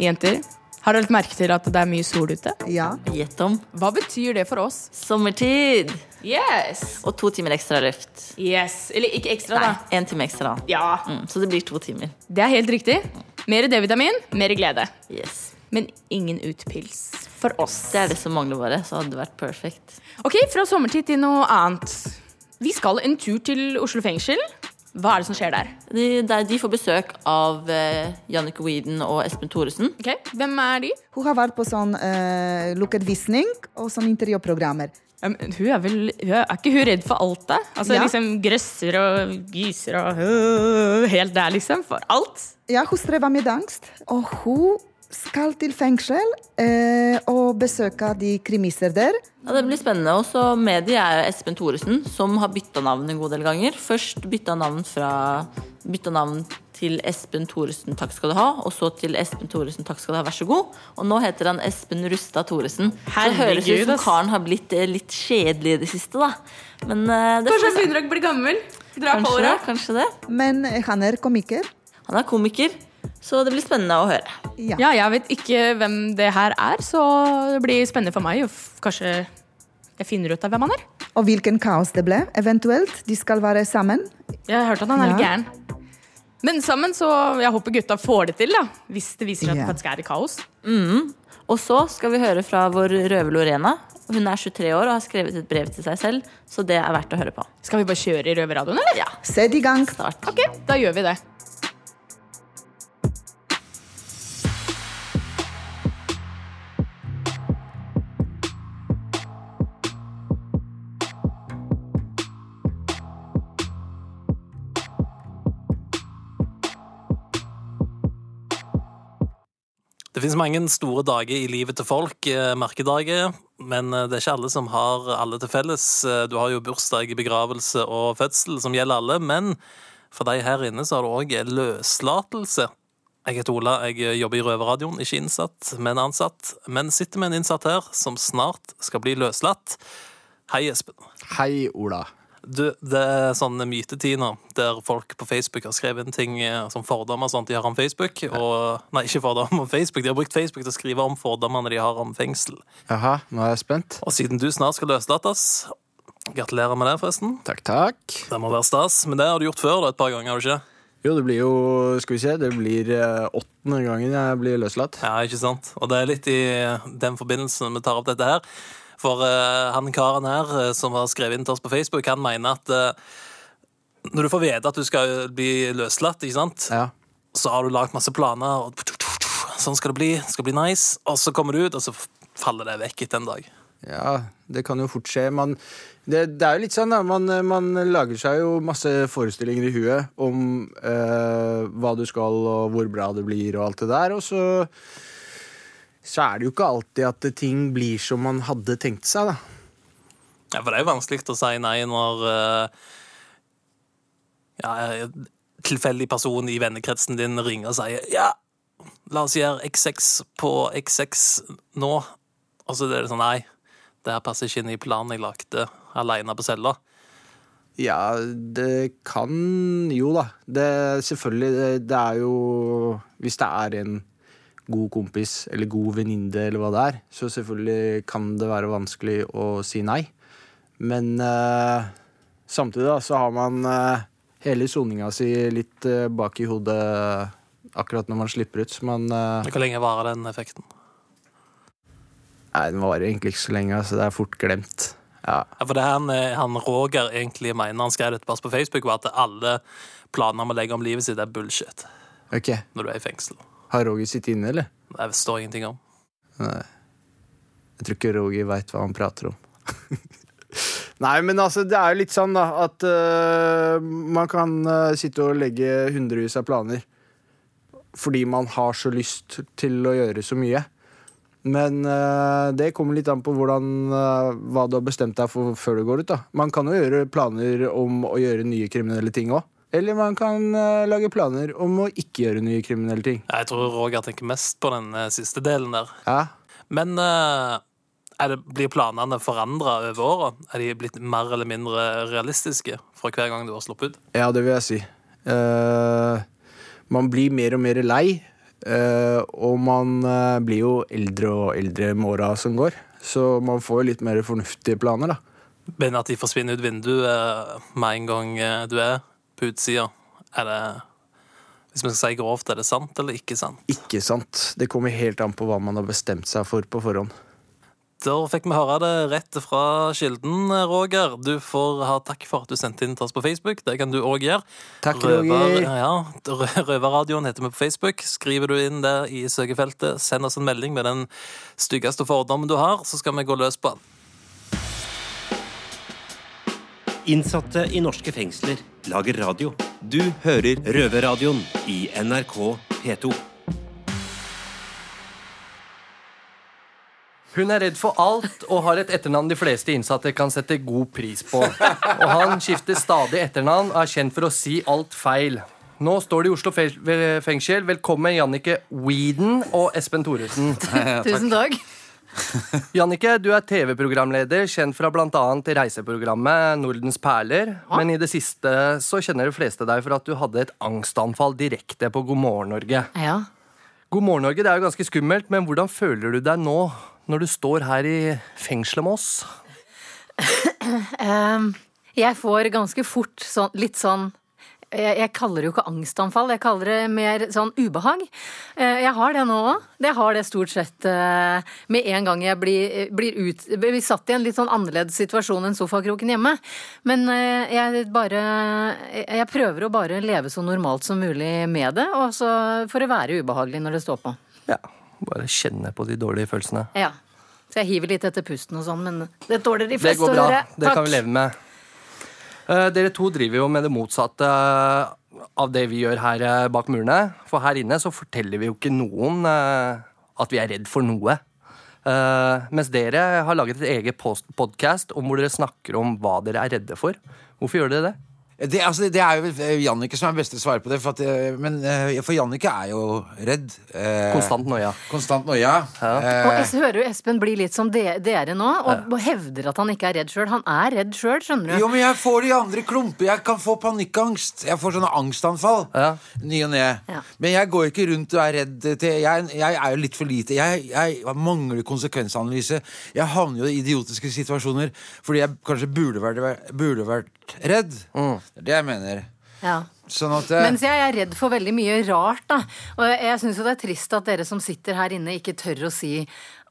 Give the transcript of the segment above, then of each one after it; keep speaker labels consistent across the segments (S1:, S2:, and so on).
S1: Jenter, har dere lagt merke til at det er mye sol ute?
S2: Ja.
S3: Gjett om.
S1: Hva betyr det for oss?
S3: Sommertid!
S1: Yes!
S3: Og to timer ekstra løft.
S1: Yes, Eller ikke ekstra,
S3: Nei,
S1: da.
S3: én time ekstra.
S1: Ja,
S3: Mm, så det blir to timer.
S1: Det er helt riktig. Mer D-vitamin, mer glede.
S3: Yes.
S1: Men ingen utpils for oss.
S3: Det er det som mangler bare, så hadde det vært perfekt.
S1: Ok, Fra sommertid til noe annet. Vi skal en tur til Oslo fengsel. Hva er det som skjer der?
S3: De, de, de får besøk av eh, Jannicke Weeden og Espen Thoresen.
S1: Ok, Hvem er de?
S2: Hun har vært på sånn eh, lukket visning og sånn intervjuprogrammer.
S1: Um, hun er vel hun er, er ikke hun redd for alt, da? Altså
S2: Ja.
S1: liksom grøsser og gyser og øh, Helt der, liksom. For alt.
S2: Ja, hun strever med angst, og hun skal til fengsel eh, og besøke de krimiser der.
S3: Ja, det blir spennende. Og så med de er Espen Thoresen, som har bytta navn en god del ganger. Først bytta navn fra bytta navn til Espen Thoresen, takk skal du ha. Og så til Espen Thoresen, takk skal du ha, vær så god. Og nå heter han Espen Rustad Thoresen. Så det høres ut
S1: Herregud,
S3: som
S1: ass.
S3: karen har blitt eh, litt kjedelig i det siste, da. Men eh, det
S1: Kanskje han begynner å bli gammel? Dra på
S3: kanskje det,
S1: åra.
S3: kanskje det.
S2: Men han er komiker.
S3: Han er komiker, så det blir spennende å høre.
S2: Ja.
S1: Ja, jeg vet ikke hvem det her er, så det blir spennende for meg. Og f- kanskje jeg finner ut av hvem han er.
S2: Og hvilken kaos det ble. Eventuelt de skal være sammen.
S1: Jeg har hørt at han er litt
S2: Ja.
S1: gæren. Men sammen, så jeg håper gutta får det til, da. Hvis det viser seg at
S2: Ja.
S1: det faktisk er kaos.
S3: Og så skal vi høre fra vår Røve Lorena. Hun er 23 år og har skrevet et brev til seg selv, så det er verdt å høre på.
S1: Skal vi bare kjøre i røverradioen, eller?
S3: Ja,
S2: Sett i gang.
S3: start.
S1: Ok, da gjør vi det.
S4: Det finnes mange store dager i livet til folk, eh, merkedager, men eh, det er ikke alle som har alle til felles. Eh, Du har jo bursdag, begravelse og fødsel som gjelder alle, men for deg her inne så har du òg løslatelse. Jeg heter Ola, jeg eh, jobber i Røverradioen, ikke innsatt, men ansatt. Men sitter med en innsatt her som snart skal bli løslatt. Hei, Espen.
S5: Hei, Ola.
S4: Du, det er sånn mytetid nå, der folk på Facebook har skrevet inn ting eh, som fordommer og sånt de har om Facebook. Og, nei, ikke fordommer om Facebook. De har brukt Facebook til å skrive om fordommene de har om fengsel.
S5: Jaha, nå er jeg spent.
S4: Og siden du snart skal løslates Gratulerer med det, forresten.
S5: Takk, takk.
S4: Det må være stas. Men det har du gjort før da, et par ganger, har du ikke?
S5: Jo, det blir jo, skal vi se, det blir eh, åttende gangen jeg blir løslatt.
S4: Ja, ikke sant? Og det er litt i eh, den forbindelsen vi tar opp dette her. For eh, han karen her eh, som har skrevet inn til oss på Facebook, han mener at eh, når du får vite at du skal bli løslatt, ikke sant,
S5: Ja.
S4: så har du lagt masse planer, og sånn skal det bli, det skal bli nice, og så kommer du ut, og så faller det vekk etter en dag.
S5: ja, det kan jo fort skje. Man, det, det er jo litt sånn, da. Man, man lager seg jo masse forestillinger i huet om eh, hva du skal, og hvor bra det blir, og alt det der. Og så, så er det jo ikke alltid at ting blir som man hadde tenkt seg, da.
S4: Ja, for det er jo vanskelig å si nei når eh, ja, en tilfeldig person i vennekretsen din ringer og sier ja, la oss gjøre XX på XX nå. Og så er det sånn nei, det her passer ikke inn i planen jeg lagde aleine på cella.
S5: Ja, det kan jo da. Det, selvfølgelig, det, det er jo Hvis det er en god kompis eller god venninne eller hva det er, så selvfølgelig kan det være vanskelig å si nei. Men eh, samtidig da, så har man eh, hele soninga si litt eh, bak i hodet akkurat når man slipper ut. Så man eh,
S4: Hvor lenge varer den effekten?
S5: Nei, den varer egentlig ikke så lenge, så det er fort glemt. Ja.
S4: Ja, for det han, eh, han Roger egentlig mener han skrev dette bare på Facebook, var at alle planer om å legge om livet sitt er bullshit
S5: Ok.
S4: når du er i fengsel.
S5: Har Roger sittet inne, eller?
S4: Det står ingenting om.
S5: Nei. Jeg tror ikke Roger veit hva han prater om. Nei, men altså, det er jo litt sånn, da, at øh, man kan øh, sitte og legge hundrevis av planer fordi man har så lyst til å gjøre så mye. Men øh, det kommer litt an på hvordan, øh, hva du har bestemt deg for før du går ut. da. Man kan jo gjøre planer om å gjøre nye kriminelle ting òg. Eller man kan øh, lage planer om å ikke gjøre nye kriminelle ting.
S4: Jeg tror Roger tenker mest på den eh, siste delen der.
S5: Ja,
S4: Men eh, er det, blir planene forandra over åra? Er de blitt mer eller mindre realistiske fra hver gang du har sluppet ut?
S5: Ja, det vil jeg si. Eh, man blir mer og mer lei Eh, og man eh, blir jo eldre og eldre med åra som går, så man får jo litt mer fornuftige planer, da.
S4: Men at de forsvinner ut vinduet eh, med en gang eh, du er på utsida, er det Hvis vi skal si grovt, er det sant eller ikke sant?
S5: Ikke sant? Det kommer helt an på hva man har bestemt seg for på forhånd.
S4: Da fikk vi høre det rett fra kilden, Roger. Du får ha takk for at du sendte inn til oss på Facebook. Det kan du òg gjøre.
S5: Takk,
S4: Røver-
S5: Roger.
S4: ja, Rø- Røverradioen heter vi på Facebook. Skriver du inn det i søkefeltet, send oss en melding med den styggeste fordommen du har, så skal vi gå løs på den.
S6: Innsatte i norske fengsler lager radio. Du hører Røverradioen i NRK P2.
S7: Hun er redd for alt og har et etternavn de fleste innsatte kan sette god pris på. Og han skifter stadig etternavn og er kjent for å si alt feil. Nå står det i Oslo fe ve- fengsel. Velkommen Jannike Weeden og Espen Thoresen.
S1: Tusen takk.
S7: Jannike, du er TV-programleder, kjent fra bl.a. reiseprogrammet Nordens perler. Men i det siste så kjenner de fleste deg for at du hadde et angstanfall direkte på God morgen Norge.
S1: Ja.
S7: God morgen Norge, det er jo ganske skummelt, men hvordan føler du deg nå når du står her i fengselet med oss?
S8: Ehm, jeg får ganske fort sånn, litt sånn jeg, jeg kaller det jo ikke angstanfall, jeg kaller det mer sånn ubehag. Eh, Jeg har det nå òg. Jeg har det stort sett eh, med en gang jeg blir, blir, ut, blir satt i en litt sånn annerledes situasjon enn sofakroken hjemme. Men eh, jeg bare Jeg jeg prøver å bare leve så normalt som mulig med det, og så for å være ubehagelig når det står på.
S7: Ja, bare kjenne på de dårlige følelsene.
S8: Ja. Så jeg hiver litt etter pusten og sånn, men det tåler de
S7: Det
S8: fleste å
S7: går bra.
S8: gjøre.
S7: Det kan
S8: Takk.
S7: vi leve med. Eh, Dere to driver jo med det motsatte eh, av det vi gjør her eh, bak murene. For her inne så forteller vi jo ikke noen eh, at vi er redd for noe. Eh, mens dere har laget et eget podkast om hvor dere snakker om hva dere er redde for. Hvorfor gjør dere det?
S9: Det, altså, det er jo vel Jannicke som er best til å svare på det. For, at, eh, men, eh, for Jannicke er jo redd. eh,
S7: Konstant noia.
S9: Konstant noia. Eh,
S8: Og jeg hører jo Espen bli litt som de, dere nå, og, og hevder at han ikke er redd sjøl. Han er redd sjøl, skjønner du.
S9: jo, men jeg får de andre klumper. Jeg kan få panikkangst. Jeg får sånne angstanfall.
S7: Ja.
S9: Ny og ne.
S8: Ja.
S9: Men jeg går ikke rundt og er redd til Jeg, jeg er jo litt for lite. Jeg, jeg mangler konsekvensanalyse. Jeg havner jo i idiotiske situasjoner fordi jeg kanskje burde vært, burde vært redd.
S7: Mm.
S9: Det er det jeg mener.
S8: Ja.
S9: Sånn at eh,
S8: Mens jeg er redd for veldig mye rart, da. Og jeg, jeg syns jo det er trist at dere som sitter her inne, ikke tør å si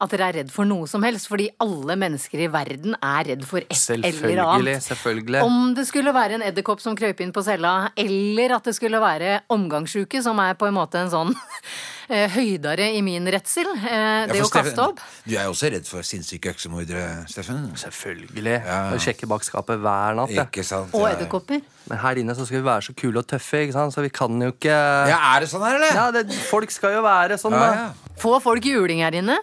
S8: at dere er redd for noe som helst, fordi alle mennesker i verden er redd for et eller
S7: Selvfølgelig,
S8: annet.
S7: selvfølgelig.
S8: Om det skulle være en edderkopp som krøp inn på cella, eller at det skulle være omgangssjuke, som er på en måte en sånn eh, høydare i min redsel, eh,
S9: Ja,
S8: det å
S9: for
S8: kaste
S9: Steffen-
S8: opp.
S9: Du er jo også redd for sinnssyke øksemordere, Steffen.
S7: Selvfølgelig. Og Sjekke bak skapet hver natt. ja.
S9: Ikke sant?
S8: Og
S9: ja.
S8: edderkopper.
S7: Men her inne så skal vi være så kule og tøffe, ikke sant? så vi kan jo ikke
S9: Ja, er det sånn her, eller?
S7: Ja, det, folk skal jo være sånn,
S9: Ja,
S7: da.
S9: ja.
S8: Få folk juling her inne.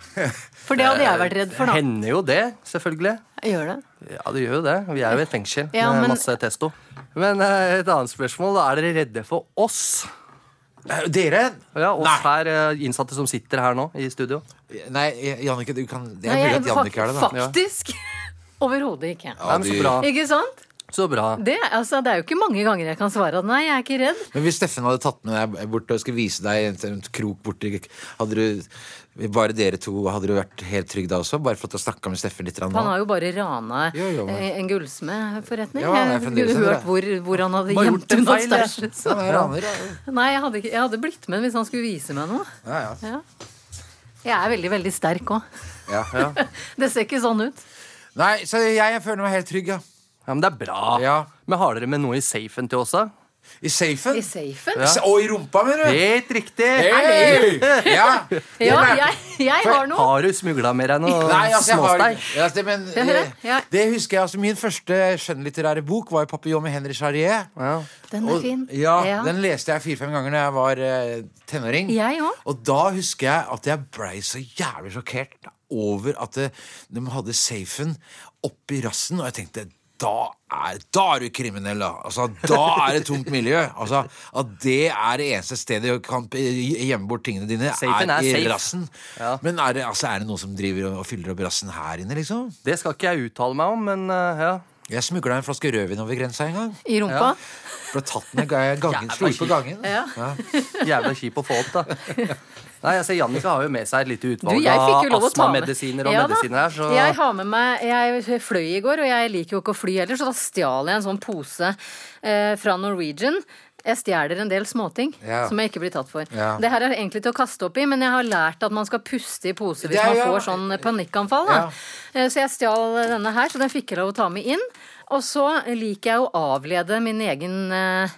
S8: For det hadde jeg vært redd for, da.
S7: Hender jo det, selvfølgelig.
S8: Gjør det.
S7: Ja, det gjør jo det. Vi er jo i et fengsel
S8: Ja,
S7: med
S8: men-
S7: masse testo. Men eh, et annet spørsmål. da. Er dere redde for oss?
S9: Eh, Dere?
S7: Ja, oss
S9: Nei.
S7: her eh, innsatte som sitter her nå i studio.
S9: Nei, Jannicke, du kan Det
S8: Nei,
S9: er mulig
S8: jeg-
S9: at Jannicke er det, da.
S7: Ja.
S8: Faktisk. Overhodet ikke.
S7: Nei, men så bra.
S8: Ikke sant?
S7: Så bra.
S8: Det, altså, det er jo ikke mange ganger jeg kan svare at nei, jeg er ikke redd.
S9: Men hvis Steffen hadde tatt med deg bort og skulle vise deg en, en krok borti Hadde du Bare dere to, hadde du vært helt trygg da også? Bare for at du har snakka med Steffen litt? grann
S8: Han
S9: nå?
S8: har jo bare rana
S9: Jo, jo, men-
S8: eh, en gullsmedforretning.
S9: Ja, han er
S8: Jeg
S9: fremdeles
S8: skulle
S9: en
S8: hørt
S9: rane.
S8: hvor, hvor han hadde
S7: Bare gjort
S8: gjemt
S7: en
S8: unna
S7: feil, ja.
S8: stæsjen.
S9: Ja, nei, raner, ja.
S8: Nei, jeg hadde, ikke, jeg hadde blitt med hvis han skulle vise meg noe.
S9: Ja, ja.
S8: Ja. Jeg er veldig, veldig sterk òg.
S9: Ja.
S8: Det ser ikke sånn ut.
S9: Nei, så jeg, jeg føler meg helt trygg, ja.
S7: Ja, Men det er bra.
S9: Ja.
S7: Men har dere med noe i safen til oss, da?
S9: I safen?
S8: I safen?
S9: I sa- Og i rumpa, mener du?
S7: Helt riktig!
S9: Hey! Ja.
S8: Ja, jeg, jeg har noe.
S7: Har du smugla med deg noe
S9: Nei, altså, jeg har,
S7: småstein?
S9: ja, det, men,
S8: hører,
S9: eh,
S8: ja.
S9: det husker jeg. Altså, min første skjønnlitterære bok var jo 'Papillon' med Henri Charrier.
S7: Ja.
S8: Den er
S9: Og,
S8: fin.
S9: ja, Den leste jeg fire-fem ganger Når jeg var eh, tenåring.
S8: Jeg òg.
S9: Og da husker jeg at jeg blei så jævlig sjokkert over at eh, de hadde safen oppi rassen, og jeg tenkte da er, da er du kriminell, da! Altså, da er det tungt miljø. Altså, at det er det eneste stedet du kan gjemme bort tingene dine,
S7: Safen er
S9: i
S7: safe.
S9: rassen. Men er det, altså, er det noen som driver og, og fyller opp rassen her inne, liksom?
S7: Det skal ikke jeg uttale meg om, men eh, ja.
S9: Jeg smugla en flaske rødvin over grensa en gang.
S8: I rumpa?
S9: Ble tatt med ga- gangen,
S7: Jævla
S9: slo ut på
S7: kjipt.
S9: gangen.
S8: Ja.
S7: Jævla kjip å få opp, da. Nei, jeg ser Jannicke har jo med seg et lite
S8: Du,
S7: utvalg
S8: jeg fikk jo
S7: av
S8: lov å ta med.
S7: astmamedisiner og
S8: Ja da.
S7: medisiner her, så
S8: Jeg har med meg Jeg fløy i går, og jeg liker jo ikke å fly heller, så da stjal jeg en sånn pose eh, fra Norwegian. Jeg stjeler en del småting
S9: Ja.
S8: som jeg ikke blir tatt for.
S9: Ja.
S8: Det her er egentlig til å kaste opp i, men jeg har lært at man skal puste i pose hvis
S9: Det er
S8: man
S9: jo-
S8: får sånn panikkanfall. Da. Eh, Så jeg stjal denne her, så den fikk jeg lov å ta med inn. Og så liker jeg å avlede min egen eh,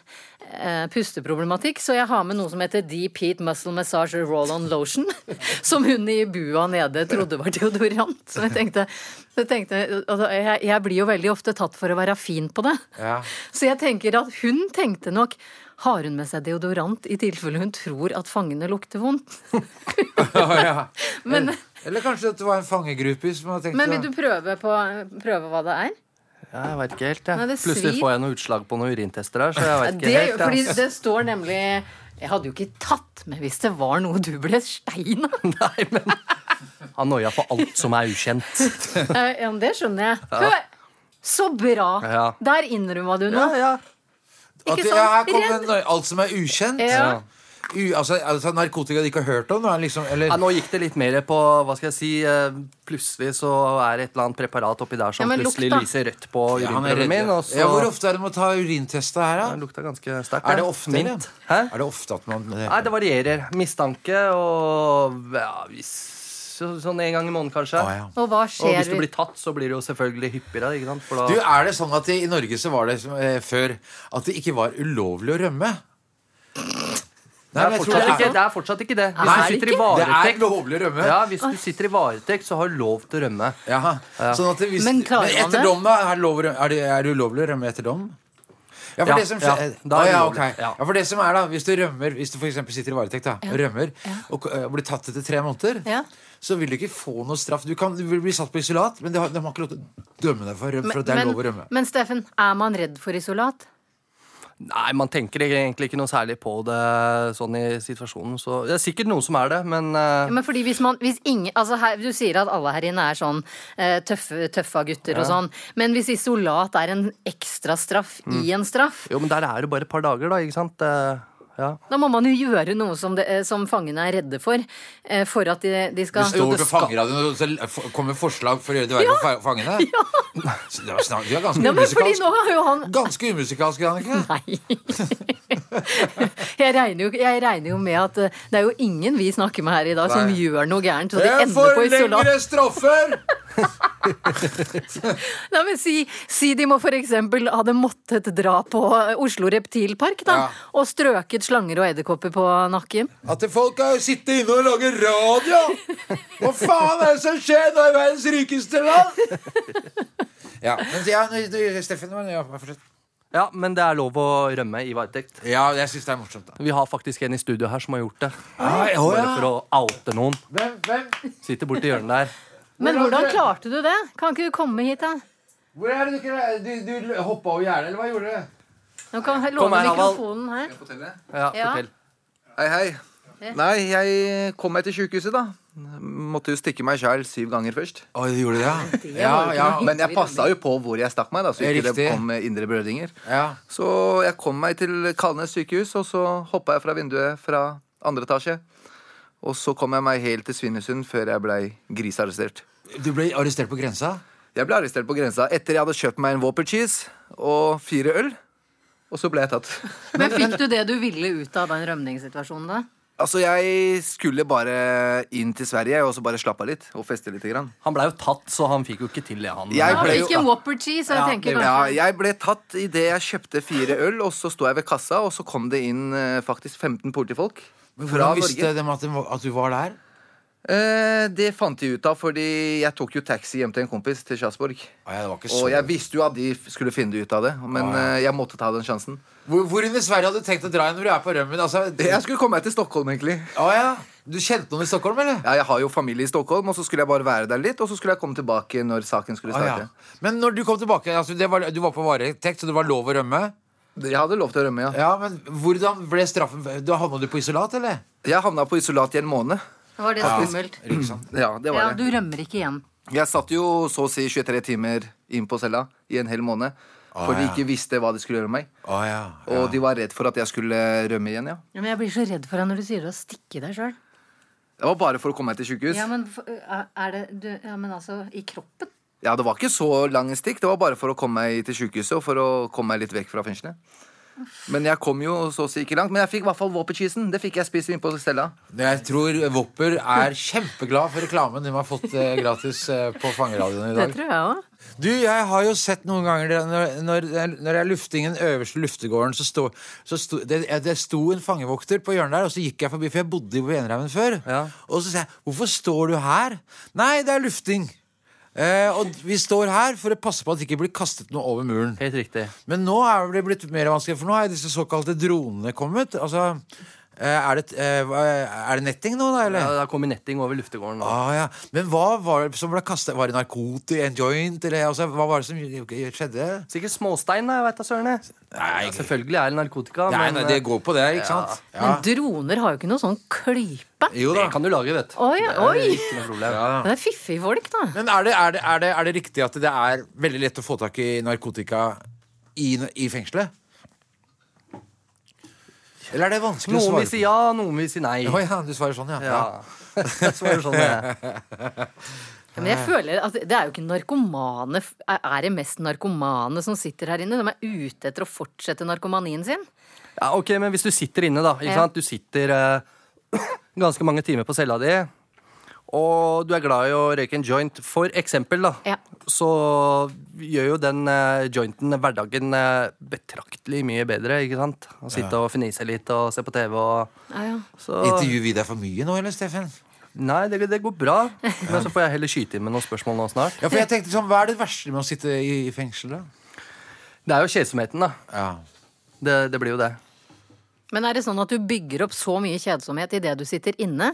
S8: eh, pusteproblematikk, så jeg har med noe som heter Deep Heat Muscle Massage Roll-On Lotion. Som hun i bua nede trodde var deodorant. Så jeg tenkte, jeg, tenkte altså, jeg, jeg blir jo veldig ofte tatt for å være fin på det.
S9: Ja.
S8: Så jeg tenker at hun tenkte nok har hun med seg deodorant i tilfelle hun tror at fangene lukter vondt?
S9: Ja.
S8: Men,
S9: Eller kanskje at det var en fangegruppe som hadde tenkt
S8: men vil
S9: å-
S8: du prøve, på, prøve hva det er?
S7: Ja, jeg vet ikke helt, jeg.
S8: Nei, det
S7: Plutselig
S8: svir.
S7: får jeg noe utslag på noen urintester her, så jeg vet ikke
S8: Det,
S7: helt.
S8: fordi
S7: jeg.
S8: det står nemlig Jeg hadde jo ikke tatt med hvis det var noe du ble stein av.
S7: Nei, men Han noia for alt som er ukjent.
S8: Eh, Ja, men det skjønner jeg. Hør! Så bra!
S7: Ja.
S8: Der innrømma du
S7: Ja,
S8: noe.
S7: ja.
S9: At
S8: Ikke
S9: det- ja, her
S8: sant?
S9: kommer
S8: Redd.
S9: no- alt som er ukjent.
S8: Ja.
S9: U, altså, altså narkotika de ikke har hørt om? da, Liksom, eller,
S7: Ja, nå gikk det litt mer på hva skal jeg si eh, Plutselig så er det et eller annet preparat oppi der som
S8: Ja, men lukt,
S7: plutselig
S8: da.
S7: lyser rødt på
S9: Ja, han er
S7: urinprøven
S9: redd,
S7: min.
S9: ja.
S7: Og så
S9: ja, hvor ofte er det man tar urintest her, da?
S7: Ja, det lukta ganske sterkt.
S9: Er det
S7: ja.
S9: ofte,
S7: Mint.
S9: eller?
S7: Hæ?
S9: Er det ofte at man
S7: Nei, det varierer. Mistanke og ja, hvis, så, sånn en gang i måneden, kanskje.
S9: Å, ja.
S8: Og hva
S7: Og hvis
S8: skjer
S7: du blir tatt, så blir det jo selvfølgelig hyppigere. Ikke sant? For
S9: Du,
S7: da,
S9: er det sånn at i, i Norge så var det som, eh, før at det ikke var ulovlig å rømme?
S7: det,
S9: Nei,
S7: er
S9: men jeg tror
S7: fortsatt
S9: det
S7: ikke,
S9: er
S7: det er fortsatt ikke det. Hvis
S9: Nei,
S7: du sitter i
S9: Det er
S7: varetekt,
S9: lovlig å rømme.
S7: ja, hvis du sitter i varetekt så har du lov til å rømme.
S9: Jaha. Sånn at det, hvis,
S8: Men
S9: men,
S8: klarer man
S9: etter
S8: det?
S9: dom, da? Er det, lov å rømme- er det, er det ulovlig å rømme etter dom? Ja, for
S7: Ja,
S9: det som
S7: ja,
S9: skjer,
S7: da er
S9: Å,
S7: det
S9: ja, ok.
S7: ulovlig, ja.
S9: ja, for det som er da Hvis du rømmer Hvis du for eksempel sitter i varetekt da, og rømmer og eh, blir tatt etter tre måneder,
S8: Ja.
S9: så vil du ikke få noe straff. Du, kan, du vil bli satt på isolat, men de har, de har ikke lov til å dømme deg for å rømme. For at det er lov å
S8: men,
S9: rømme
S8: men Steffen, er man redd for isolat?
S7: Nei, man tenker egentlig ikke noe særlig på det sånn i situasjonen. Så det er sikkert noen som er det, men
S8: Ja,
S7: eh,
S8: Men fordi hvis man, hvis ingen, altså her, Du sier at alle her inne er sånn eh, tøffe, tøffa gutter og sånn. Men hvis isolat er en ekstra straff i en straff,
S7: Jo, men der er det bare et par dager, da, ikke sant? Eh, Ja.
S8: da må man jo gjøre noe som, det, eh, som fangene er redde for. Eh, for at de, de skal
S9: Det står på fangeradioen, og så f- kommer forslag for å gjøre det verre for fa- fangene. Så det var snak- Du er ganske
S8: Ja, men fordi
S9: umusikalsk.
S8: nå har jo han
S9: Ganske umusikalsk, Jannicke.
S8: Nei. jeg, regner jo, jeg regner jo med at eh, det er jo ingen vi snakker med her i dag, som
S9: Nei.
S8: gjør noe gærent. Så de
S9: Jeg
S8: ender
S9: får
S8: på isolat.
S9: lengre straffer!
S8: Nei, men si, si de må for eksempel hadde måttet dra på eh, Oslo Reptilpark, da.
S9: Ja.
S8: Og strøket slanger og edderkopper på nakken.
S9: At folk har sittet inne og laget radio! Hva faen er det som skjer nå i verdens rikeste land? Ja, men ja, nå- nå- Steffen men ja, bare fortsett.
S7: ja, men det er lov å rømme i varetekt.
S9: ja, jeg syns det er morsomt, da.
S7: Vi har faktisk en i studio her som har gjort det.
S9: Ai, å,
S7: Bare
S9: ja.
S7: for å oute noen.
S9: Hvem, hvem?
S7: Sitter borti hjørnet der.
S8: Men
S9: Hvordan-
S8: hvordan klarte du det? Kan ikke du komme hit, da?
S9: Hvor er det du ikke Du, du hoppa over gjerdet, eller hva gjorde du?
S8: Nå kan jeg
S7: Kom
S8: låne
S7: her, Havald.
S8: mikrofonen her.
S7: Ja,
S8: Ja.
S7: fortell.
S10: Hei, hei. Nei, jeg kom meg til sykehuset da. Måtte jo stikke meg sjæl syv ganger først.
S9: Å, du gjorde det, ja? Ja, ja.
S10: Men jeg passa jo på hvor jeg stakk meg, da, så
S9: Ja,
S10: ikke det
S9: riktig.
S10: kom indre brødringer.
S9: ja.
S10: Så jeg kom meg til Kalnes sykehus, og så hoppa jeg fra vinduet fra andre etasje. Og så kom jeg meg helt til Svinesund før jeg blei grisarrestert.
S9: Du ble arrestert på grensa?
S10: Jeg ble arrestert på grensa etter jeg hadde kjøpt meg en Whopper cheese og fire øl. Og så ble jeg tatt.
S8: Men fikk du det du ville ut av den rømningssituasjonen, da?
S10: Altså, jeg skulle bare inn til Sverige og så bare slappe av litt og feste lite grann.
S7: Han blei jo tatt, så han fikk jo ikke til det, han.
S10: Jeg
S8: Han
S10: ble jo-
S8: fikk en Whopper cheese, og jeg tenker
S10: Ja,
S8: kanskje
S10: jeg ble tatt idet jeg kjøpte fire øl, og så sto jeg ved kassa, og så kom det inn eh, faktisk 15 politifolk fra
S9: Hvordan visste
S10: Norge.
S9: de at, de, var- at du var der?
S10: Eh, det fant de ut av, fordi jeg tok jo taxi hjem til en kompis til Sjarsborg.
S9: Å, ja, det var ikke så
S10: Og jeg visste jo at de f- skulle finne ut av det, men eh, jeg måtte ta den sjansen.
S9: hvor, hvor i Sverige hadde du tenkt å dra igjen når du er på rømmen? Altså,
S10: Jeg skulle komme meg til Stockholm, egentlig.
S9: Å, ja. Du kjente noen i Stockholm, eller?
S10: Ja, jeg har jo familie i Stockholm, og så skulle jeg bare være der litt, og så skulle jeg komme tilbake når saken skulle
S9: Å, ja.
S10: starte.
S9: Men når du kom tilbake, altså, det var, du var på varetekt, så det var lov å rømme?
S10: Jeg hadde lov til å rømme, ja.
S9: Ja, men hvordan ble straffen? Da havna du på isolat, eller?
S10: Jeg havna på isolat i en måned.
S8: var det skummelt.
S9: Ikke sant?
S10: Ja, det var
S8: Ja,
S10: det.
S8: du rømmer ikke igjen.
S10: Jeg satt jo så å si 23 timer inn på cella i en hel måned.
S9: Å,
S10: For de
S9: ja.
S10: ikke visste hva de skulle gjøre med meg.
S9: Å ja.
S10: Og de var redd for at jeg skulle rømme igjen. ja
S8: Ja, Men jeg blir så redd for deg når du sier å stikke deg sjøl.
S10: Det var bare for å komme meg til sykehus.
S8: Ja,
S10: Ja,
S8: men for- er det du, Ja, men altså, i kroppen?
S10: Det var ikke så lange stikk. Det var bare for å komme meg til sykehuset og for å komme meg litt vekk fra fengselet. Men jeg kom jo så å si ikke langt. Men jeg fikk i hvert fall våpencheesen. Det fikk jeg spist inn på cella.
S9: Jeg tror Wopper er kjempeglad for reklamen de har fått eh, gratis eh, på Fangeradioen i
S8: Det
S9: dag.
S8: tror jeg òg.
S9: Du, jeg har jo sett noen ganger det- Når, når, når jeg lufter inn den øverste luftegården Så, stå, så sto, det, det sto en fangevokter på hjørnet der Og så gikk jeg forbi, for jeg bodde i Venrheimen før Og så sa jeg, hvorfor står du her? Nei, det er lufting eh, Og vi står her for å passe på at det ikke blir kastet noe over muren
S7: Helt riktig.
S9: Men nå er det blitt mer vanskelig For nå har disse såkalte dronene kommet Altså, eh, er det, eh, hva- er det netting nå da, eller?
S7: Ja, da kommer netting over luftegården. nå.
S9: Ah, ja. Men hva var det som ble kastet? Var det narkotika, en joint? Eller, altså, hva var det som skjedde?
S7: Sikkert småstein, da, jeg vet da søren. jeg.
S9: Nei,
S7: Ja, selvfølgelig er det narkotika,
S9: Nei,
S7: men
S9: nei,
S7: eh,
S9: det går på det, ikke sant? Ja.
S8: Men droner har jo ikke noe sånn klype.
S9: Jo da.
S7: det kan du lage, vet du.
S8: Oi,
S7: Det er
S8: oi.
S7: Ikke noe problem.
S9: Ja.
S8: Det er fiffige folk, da.
S9: Men er det, er, det, er, det, er det riktig at det er veldig lett å få tak i narkotika i, i fengselet? Eller er det vanskelig å
S7: Noen
S9: svare
S7: vil si ja, noen vil si nei.
S9: Å ja, du svarer sånn, ja.
S7: Ja. Så var det sånn, ja.
S8: Men jeg føler at det er jo ikke narkomane Er det mest narkomane som sitter her inne? De er ute etter å fortsette narkomanien sin.
S7: ja, ok, men hvis du sitter inne, da. Ikke
S8: Ja.
S7: sant? Du sitter eh, ganske mange timer på cella di, og du er glad i å røyke en joint, for eksempel, da.
S8: Ja.
S7: Så gjør jo den eh, jointen hverdagen eh, betraktelig mye bedre, ikke sant? Å sitte og fnise litt og se på TV og så,
S9: Intervjuer vi deg for mye nå, eller, Steffen?
S7: Nei, det, det går bra. Men så får jeg heller skyte inn med noen spørsmål nå snart.
S9: Ja, for jeg tenkte sånn, Hva er det verste med å sitte i, i fengsel, da?
S7: Det er jo kjedsomheten, da.
S9: Ja.
S7: Det, det blir jo det.
S8: Men er det sånn at du bygger opp så mye kjedsomhet idet du sitter inne,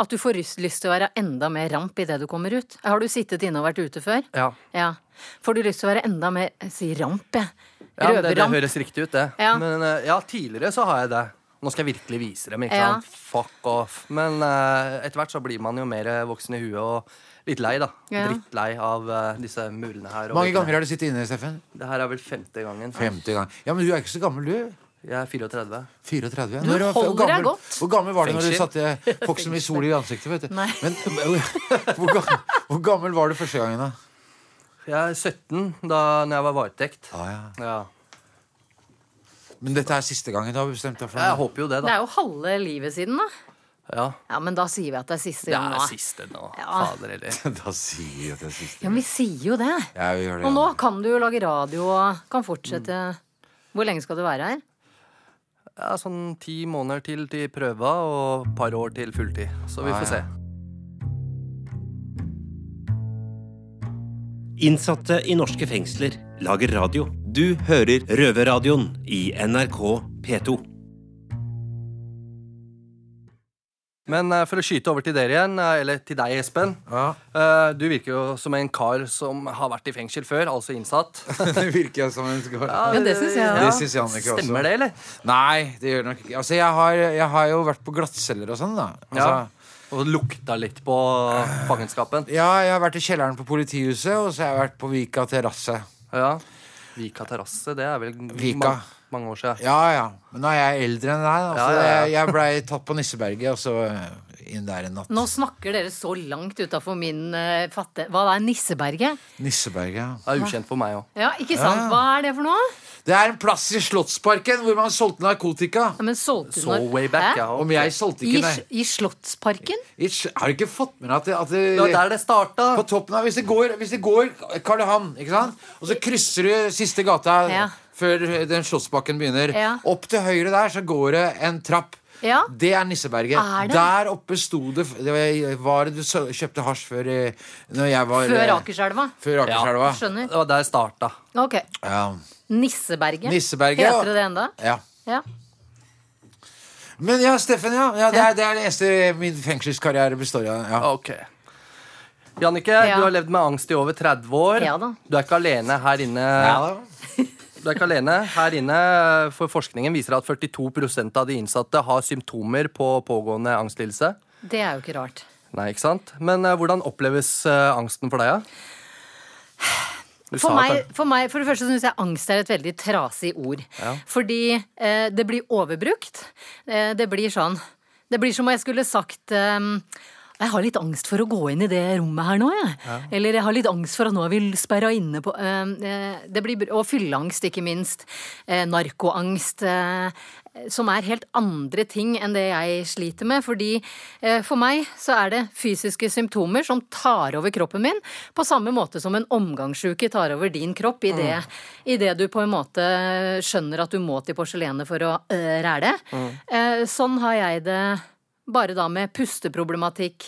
S8: at du får lyst, lyst til å være enda mer ramp idet du kommer ut? Har du sittet inne og vært ute før?
S7: Ja.
S8: Ja. Får du lyst til å være enda mer jeg sier ramp, jeg.
S7: Ja, men det, det
S8: Røverramp.
S7: høres riktig ut, det.
S8: Ja.
S7: Men eh, ja, tidligere så har jeg det. Nå skal jeg virkelig vise dem. ikke
S8: Ja.
S7: sant? Fuck off. Men eh, etter hvert så blir man jo mer eh, voksen i huet og litt lei, da.
S8: Ja.
S7: Drittlei av eh, disse murene her. og
S9: Mange
S7: veggene.
S9: ganger har du sittet inne, Steffen?
S7: Det her er vel femte gangen.
S9: 50 ganger. Ja, Men du er ikke så gammel, du.
S7: Jeg er 34.
S9: 34.
S8: Du
S9: Når
S8: holder
S9: hvor gammel-
S8: deg godt.
S9: Hvor gammel var du når du
S7: Fengsel.
S9: satte Foxen i sol i ansiktet? vet du?
S8: Nei.
S9: Men, hvor, gammel, hvor gammel var du første gangen, da?
S7: Jeg er 17 da når jeg var varetekt.
S9: Ah, ja.
S7: Ja.
S9: Men dette er siste gangen du har bestemt deg for
S7: Jeg
S9: det?
S7: håper jo det,
S8: Det
S7: da.
S8: er jo halve livet siden, da.
S7: Ja.
S8: Ja, men da sier vi at det er siste
S7: Det
S8: gang
S7: er
S8: nå.
S7: siste nå.
S8: Ja.
S7: Fader heller.
S9: Da sier vi at det er siste.
S8: Ja, men vi sier jo det.
S9: Ja, vi gjør det,
S8: Og nå
S9: ja.
S8: kan du jo lage radio og kan fortsette.
S7: Mm.
S8: Hvor lenge skal du være her?
S7: Ja, sånn ti måneder til til prøva og et par år til fulltid. Så vi
S9: Ah,
S7: får
S9: ja.
S7: se.
S6: Innsatte i norske fengsler lager radio. Du hører Røverradioen i NRK P2.
S7: Men eh, for å skyte over til dere igjen, eh, eller til deg, Espen.
S9: Ja,
S7: Eh, Du virker jo som en kar som har vært i fengsel før, altså innsatt.
S9: Det virker jeg som en skål.
S8: Ja, det synes jeg,
S9: Det syns Jannicke også.
S7: Stemmer det, eller?
S9: Nei, det gjør det nok ikke. Altså, jeg har, jeg har jo vært på glattceller og sånn, da. Altså,
S7: Ja. Og lukta litt på fangenskapen.
S9: ja, jeg har vært i kjelleren på politihuset, og så har jeg vært på Vika terrasse.
S7: Ja. Vika terrasse, det er vel
S9: Vika.
S7: ma- mange år siden.
S9: Ja, ja. Men nå er jeg eldre enn deg. da,
S7: Ja,
S9: så
S7: ja, ja.
S9: Jeg, jeg blei tatt på Nisseberget, og så eh, inn der en natt.
S8: Nå snakker dere så langt utafor min eh, fatte... Hva er Nisseberget?
S9: Nisseberget, ja.
S7: Det er ukjent for meg òg.
S8: Ja, ikke
S7: Ah.
S8: sant? Hva er det for noe?
S9: Det er en plass i Slottsparken hvor man solgte narkotika.
S8: Ja, men solgte du
S7: Så
S8: når-
S7: way back,
S8: Hæ?
S7: ja.
S9: Om jeg solgte
S8: I,
S9: ikke, nei.
S8: I Slottsparken?
S9: I Sl- Har du ikke fått med deg at det, at
S7: Det var
S9: det
S7: der det starta.
S9: på toppen av, hvis det går, hvis det går Karl Johan, ikke sant? og så krysser du siste gata
S8: Ja.
S9: før den Slottsbakken begynner.
S8: Ja.
S9: Opp til høyre der så går det en trapp.
S8: Ja.
S9: Det er Nisseberget.
S8: Er det?
S9: Der oppe sto det Det var- var det du så- kjøpte hasj før eh, Når jeg var
S8: Før
S9: eh,
S8: Akerselva?
S9: Før Akerselva.
S8: Skjønner.
S7: Det var der det starta.
S8: Ok.
S9: Ja.
S8: Nisseberget.
S9: Nisseberget, ja.
S8: Heter det det enda?
S9: ja.
S8: Ja.
S9: Men ja, Steffen, ja. ja, det, er, det er det eneste min fengselskarriere består av. Ja.
S7: Ok. Jannicke,
S8: Ja.
S7: du har levd med angst i over 30 år.
S8: Ja da.
S7: Du er ikke alene her inne. Du er ikke alene. Her inne, for Forskningen viser at 42 av de innsatte har symptomer på pågående angstlidelse.
S8: Det er jo ikke rart.
S7: Nei, ikke sant? Men eh, hvordan oppleves eh, angsten for deg, da? Du
S8: For
S7: sa
S8: meg,
S7: kanskje-
S8: for meg, for det første syns jeg angst er et veldig trasig ord.
S7: Ja.
S8: Fordi eh, det blir overbrukt. Eh, det blir sånn Det blir som om jeg skulle sagt eh, jeg har litt angst for å gå inn i det rommet her nå, jeg. Eller jeg har litt angst for at nå er vi sperra inne på eh, eh, det blir, br- Og fylleangst, ikke minst. Eh, narkoangst. Eh, som er helt andre ting enn det jeg sliter med. Fordi eh, for meg så er det fysiske symptomer som tar over kroppen min, på samme måte som en omgangssjuke tar over din kropp i det, i det du på en måte skjønner at du må til porselenet for å øh, ræle.
S3: Mm.
S8: Eh, sånn har jeg det bare da med pusteproblematikk.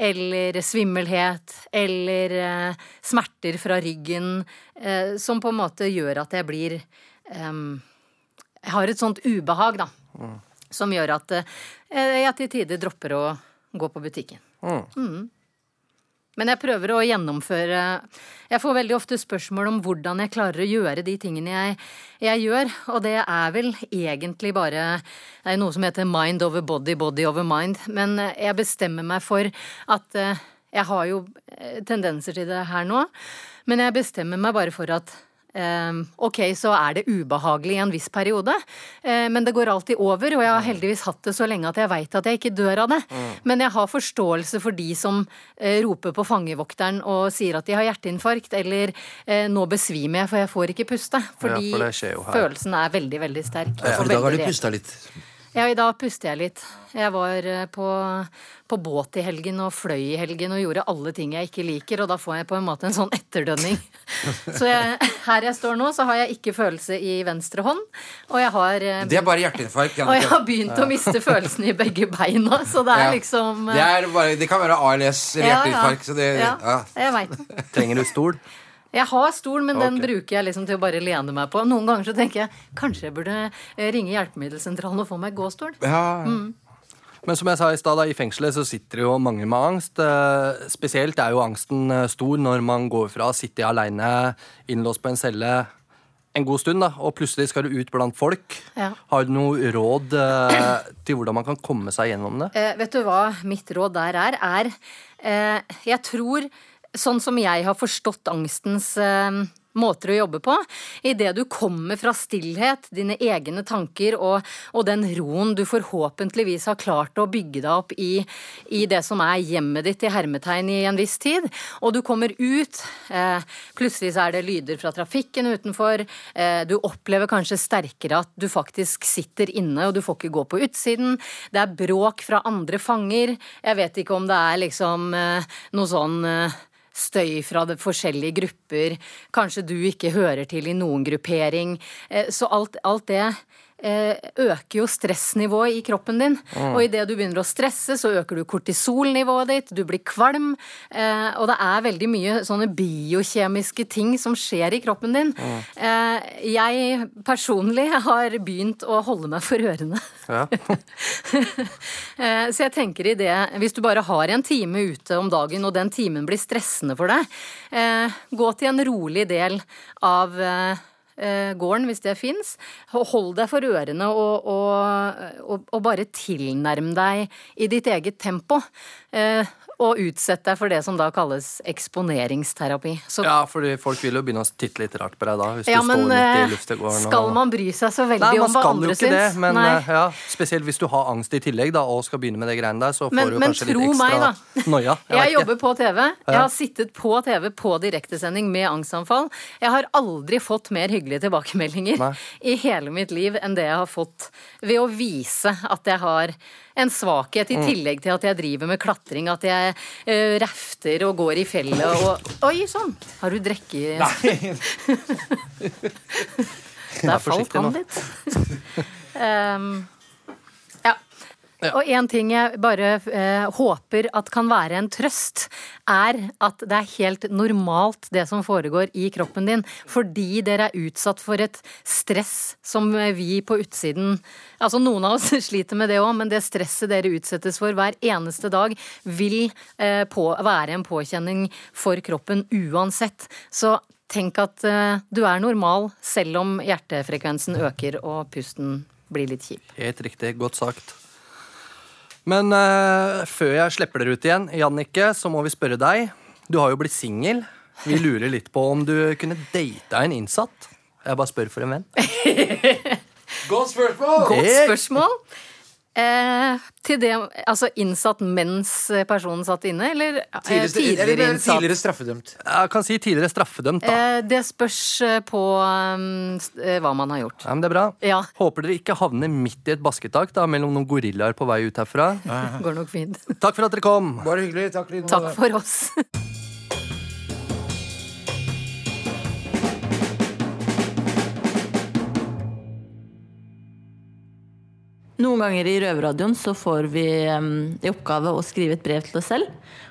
S8: Eller svimmelhet, eller eh, smerter fra ryggen, eh, som på en måte gjør at jeg blir ehm, jeg har et sånt ubehag, da. Som gjør at eh, jeg til tider dropper å gå på butikken. Mm. Men jeg prøver å gjennomføre Jeg får veldig ofte spørsmål om hvordan jeg klarer å gjøre de tingene jeg, jeg gjør, og det er vel egentlig bare Det er noe som heter mind over body, body over mind, men eh, jeg bestemmer meg for at eh, Jeg har jo eh, tendenser til det her nå, men jeg bestemmer meg bare for at Ehm, ok, så er det ubehagelig i en viss periode, eh, men det går alltid over. Og jeg har heldigvis hatt det så lenge at jeg veit at jeg ikke dør av det.
S3: Mm.
S8: Men jeg har forståelse for de som eh, roper på fangevokteren og sier at de har hjerteinfarkt, eller eh, 'nå besvimer jeg, for jeg får ikke puste'. Fordi
S7: for det skjer jo her.
S8: følelsen er veldig, veldig sterk.
S9: Ja,
S8: og
S9: for i dag har
S8: veldig
S9: du
S8: reell.
S9: pusta litt.
S8: Ja, i dag puster jeg litt. Jeg var eh, på, på båt i helgen og fløy i helgen og gjorde alle ting jeg ikke liker, og da får jeg på en måte en sånn etterdønning. Så jeg, her jeg står nå, så har jeg ikke følelse i venstre hånd, og jeg har eh,
S9: Det er bare
S8: og
S9: hjerteinfarkt.
S8: jeg har
S9: Jannicke.
S8: begynt å miste følelsen i begge beina, så det
S9: Ja.
S8: er liksom eh,
S9: Det, er bare, det kan være ALS eller
S8: ja, ja.
S9: hjerteinfarkt. Så det,
S8: Ja,
S9: ja.
S8: jeg veit det.
S7: Trenger du stol?
S8: Jeg har stol, men den
S7: Ok.
S8: bruker jeg liksom til å bare lene meg på. Noen ganger så tenker jeg kanskje jeg burde eh, ringe hjelpemiddelsentralen og få meg gåstol. Mm,
S9: Ja.
S7: Men som jeg sa i stad, da, i fengselet så sitter det jo mange med angst. Eh, Spesielt er jo angsten eh, stor når man går fra å sitte aleine innlåst på en celle en god stund, da, og plutselig skal du ut blant folk.
S8: Ja.
S7: Har du noe råd eh, til hvordan man kan komme seg gjennom det?
S8: Eh, vet du hva mitt råd der er? Er eh, Jeg tror, sånn som jeg har forstått angstens eh, måter å jobbe på, idet du kommer fra stillhet, dine egne tanker og, og den roen du forhåpentligvis har klart å bygge deg opp i, i det som er hjemmet ditt i hermetegn i en viss tid, og du kommer ut, eh, plutselig så er det lyder fra trafikken utenfor, eh, du opplever kanskje sterkere at du faktisk sitter inne og du får ikke gå på utsiden, det er bråk fra andre fanger, jeg vet ikke om det er liksom eh, noe sånn eh, Støy fra de forskjellige grupper, kanskje du ikke hører til i noen gruppering. Eh, Så alt, alt det eh, øker jo stressnivået i kroppen din. Og idet du begynner å stresse, så øker du kortisolnivået ditt, du blir kvalm. eh, Og det er veldig mye sånne biokjemiske ting som skjer i kroppen din. Eh, Jeg personlig har begynt å holde meg for ørene.
S3: Mm.
S8: Eh, Så jeg tenker i det, hvis du bare har en time ute om dagen, og den timen blir stressende for deg, eh, gå til en rolig del av eh, eh, gården, hvis det fins. Hold deg for ørene og, og, og, og bare tilnærm deg i ditt eget tempo. eh, Og utsett deg for det som da kalles eksponeringsterapi. Så
S7: Ja, fordi folk vil jo begynne å titte litt rart på deg da, hvis
S8: Ja,
S7: du
S8: men,
S7: står midt i
S8: eh,
S7: luftegården.
S8: skal man bry seg så veldig
S7: Nei,
S8: om
S7: man
S8: hva
S7: skal jo
S8: andre
S7: ikke det,
S8: syns?
S7: men
S8: Nei.
S7: eh, ja, spesielt hvis du har angst i tillegg da, og skal begynne med det greiene der, så får
S8: Men-
S7: du jo
S8: men
S7: kanskje litt
S8: tro meg, da.
S7: ekstra noia.
S8: Jeg,
S7: vet ikke.
S8: jobber på TV. Jeg har sittet på TV på direktesending med angstanfall. Jeg har aldri fått mer hyggelige tilbakemeldinger
S7: Nei.
S8: i hele mitt liv enn det jeg har fått ved å vise at jeg har en svakhet,
S7: Mm.
S8: i tillegg til at jeg driver med klatring, at jeg eh, rafter og går i fjellet og Oi sann! Har du drikke i Der falt
S7: forsiktig
S8: han
S7: nå.
S8: litt. Ehm, ja. Og én ting jeg bare eh, håper at kan være en trøst, er at det er helt normalt det som foregår i kroppen din, fordi dere er utsatt for et stress som vi på utsiden Altså noen av oss sliter med det òg, men det stresset dere utsettes for hver eneste dag, vil eh, på, være en påkjenning for kroppen uansett. Så Tenk at eh, du er normal selv om hjertefrekvensen øker og pusten blir litt kjip.
S7: Helt riktig. Godt sagt. Men eh, før jeg slipper dere ut igjen, Jannicke, så må vi spørre deg. Du har jo blitt singel. Vi lurer litt på om du kunne data en innsatt. Jeg bare spør for en venn.
S9: Godt spørsmål!
S7: Godt
S8: Spørsmål? Eh, til det, altså innsatt mens personen satt inne, eller eh,
S9: Tidligere, eller,
S8: tidligere
S9: eller,
S8: innsatt?
S9: tidligere straffedømt.
S7: Jeg kan si tidligere straffedømt, da.
S8: Eh, det spørs eh, på um, s- eh, hva man har gjort.
S7: Ja, men det er bra.
S8: Ja,
S7: Håper dere ikke havner midt i et basketak da, mellom noen gorillaer på vei ut herfra.
S8: går nok fint.
S7: Takk for at dere kom.
S9: Bare hyggelig. Takk, Lina.
S8: Takk for oss.
S3: Noen ganger i Røverradioen så får vi em, i oppgave å skrive et brev til oss selv.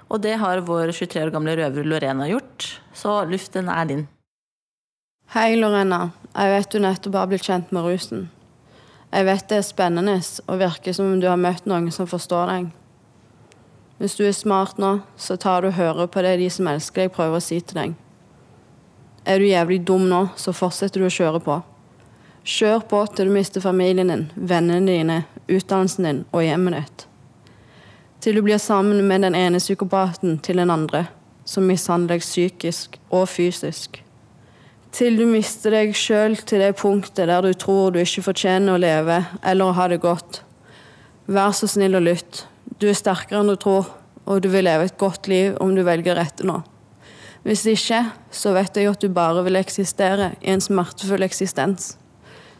S3: Og det har vår 23 år gamle røver Lorena gjort. Så luften er din.
S11: Hei, Lorena. Jeg vet du nettopp har blitt kjent med rusen. Jeg vet det er spennende og virker som om du har møtt noen som forstår deg. Hvis du er smart nå, så tar du og hører på det de som elsker deg, prøver å si til deg. Er du jævlig dum nå, så fortsetter du å kjøre på. Kjør på til du mister familien din, vennene dine, utdannelsen din og hjemmet ditt. Til du blir sammen med den ene psykopaten til den andre, som mishandler deg psykisk og fysisk. Til du mister deg sjøl til det punktet der du tror du ikke fortjener å leve eller å ha det godt. Vær så snill og lytt. Du er sterkere enn du tror, og du vil leve et godt liv om du velger rette nå. Hvis ikke, så vet jeg at du bare vil eksistere i en smertefull eksistens,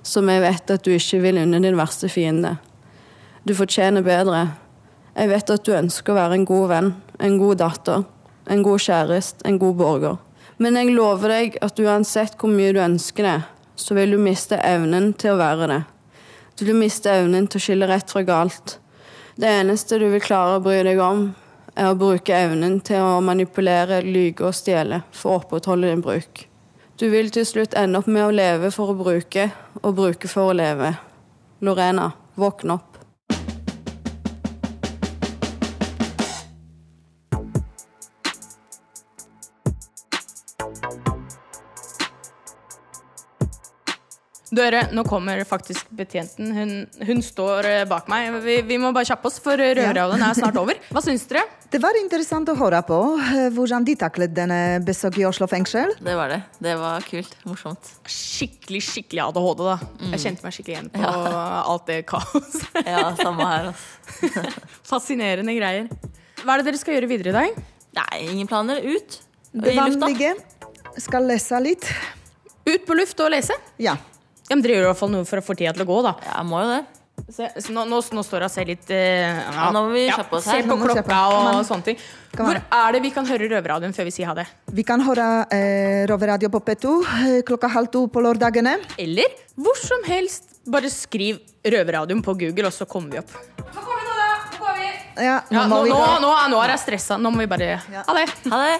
S11: som jeg vet at du ikke vil unne din verste fiende. Du fortjener bedre. Jeg vet at du ønsker å være en god venn, en god datter, en god kjæreste, en god borger. Men jeg lover deg at uansett hvor mye du ønsker det, så vil du miste evnen til å være det. Du vil miste evnen til å skille rett fra galt. Det eneste du vil klare å bry deg om, er å bruke evnen til å manipulere, lyge og stjele for å opprettholde din bruk. Du vil til slutt ende opp med å leve for å bruke, og bruke for å leve. Lorena, våkn opp.
S1: Dere, nå kommer faktisk betjenten. Hun, hun står eh, bak meg. Vi, vi må bare kjappe oss, for rødradioen er snart over. Hva syns dere?
S2: Det var interessant å høre på eh, hvordan de taklet denne besøket i Oslo fengsel.
S3: Det var det. Det var kult. Morsomt. Mm.
S1: Skikkelig skikkelig ADHD, da. Jeg kjente meg skikkelig igjen på alt det kaoset.
S3: Ja, samme her, altså.
S1: Fascinerende greier. Hva er det dere skal gjøre videre i dag?
S3: Nei, ingen planer. Ut. Og
S2: Det
S3: I lufta.
S2: vanlige. Skal lese litt.
S1: Ut på luft og lese?
S2: Ja.
S1: Ja, men Dere gjør i hvert fall noe for å få tida til å gå, da.
S3: Ja, må jo det.
S1: Se, så nå, nå, nå står hun og ser litt eh,
S3: Ja, nå må vi kjappe oss
S1: Se
S3: her.
S1: på
S2: Nå må vi kjappe.
S1: klokka og sånne ting.
S2: Kom
S1: Hvor
S2: an.
S1: er det vi kan høre Røverradioen før vi sier ha det?
S2: Vi kan høre eh, Roveradio på P2 eh, klokka halv to på lørdagene.
S1: Eller hvor som helst. Bare skriv Røverradioen på Google, og så kommer vi opp.
S2: Ja,
S1: Ja, nå,
S2: må vi
S1: nå,
S2: gå.
S1: nå, nå er jeg stressa. Nå må vi bare Ha det.
S3: Ha det.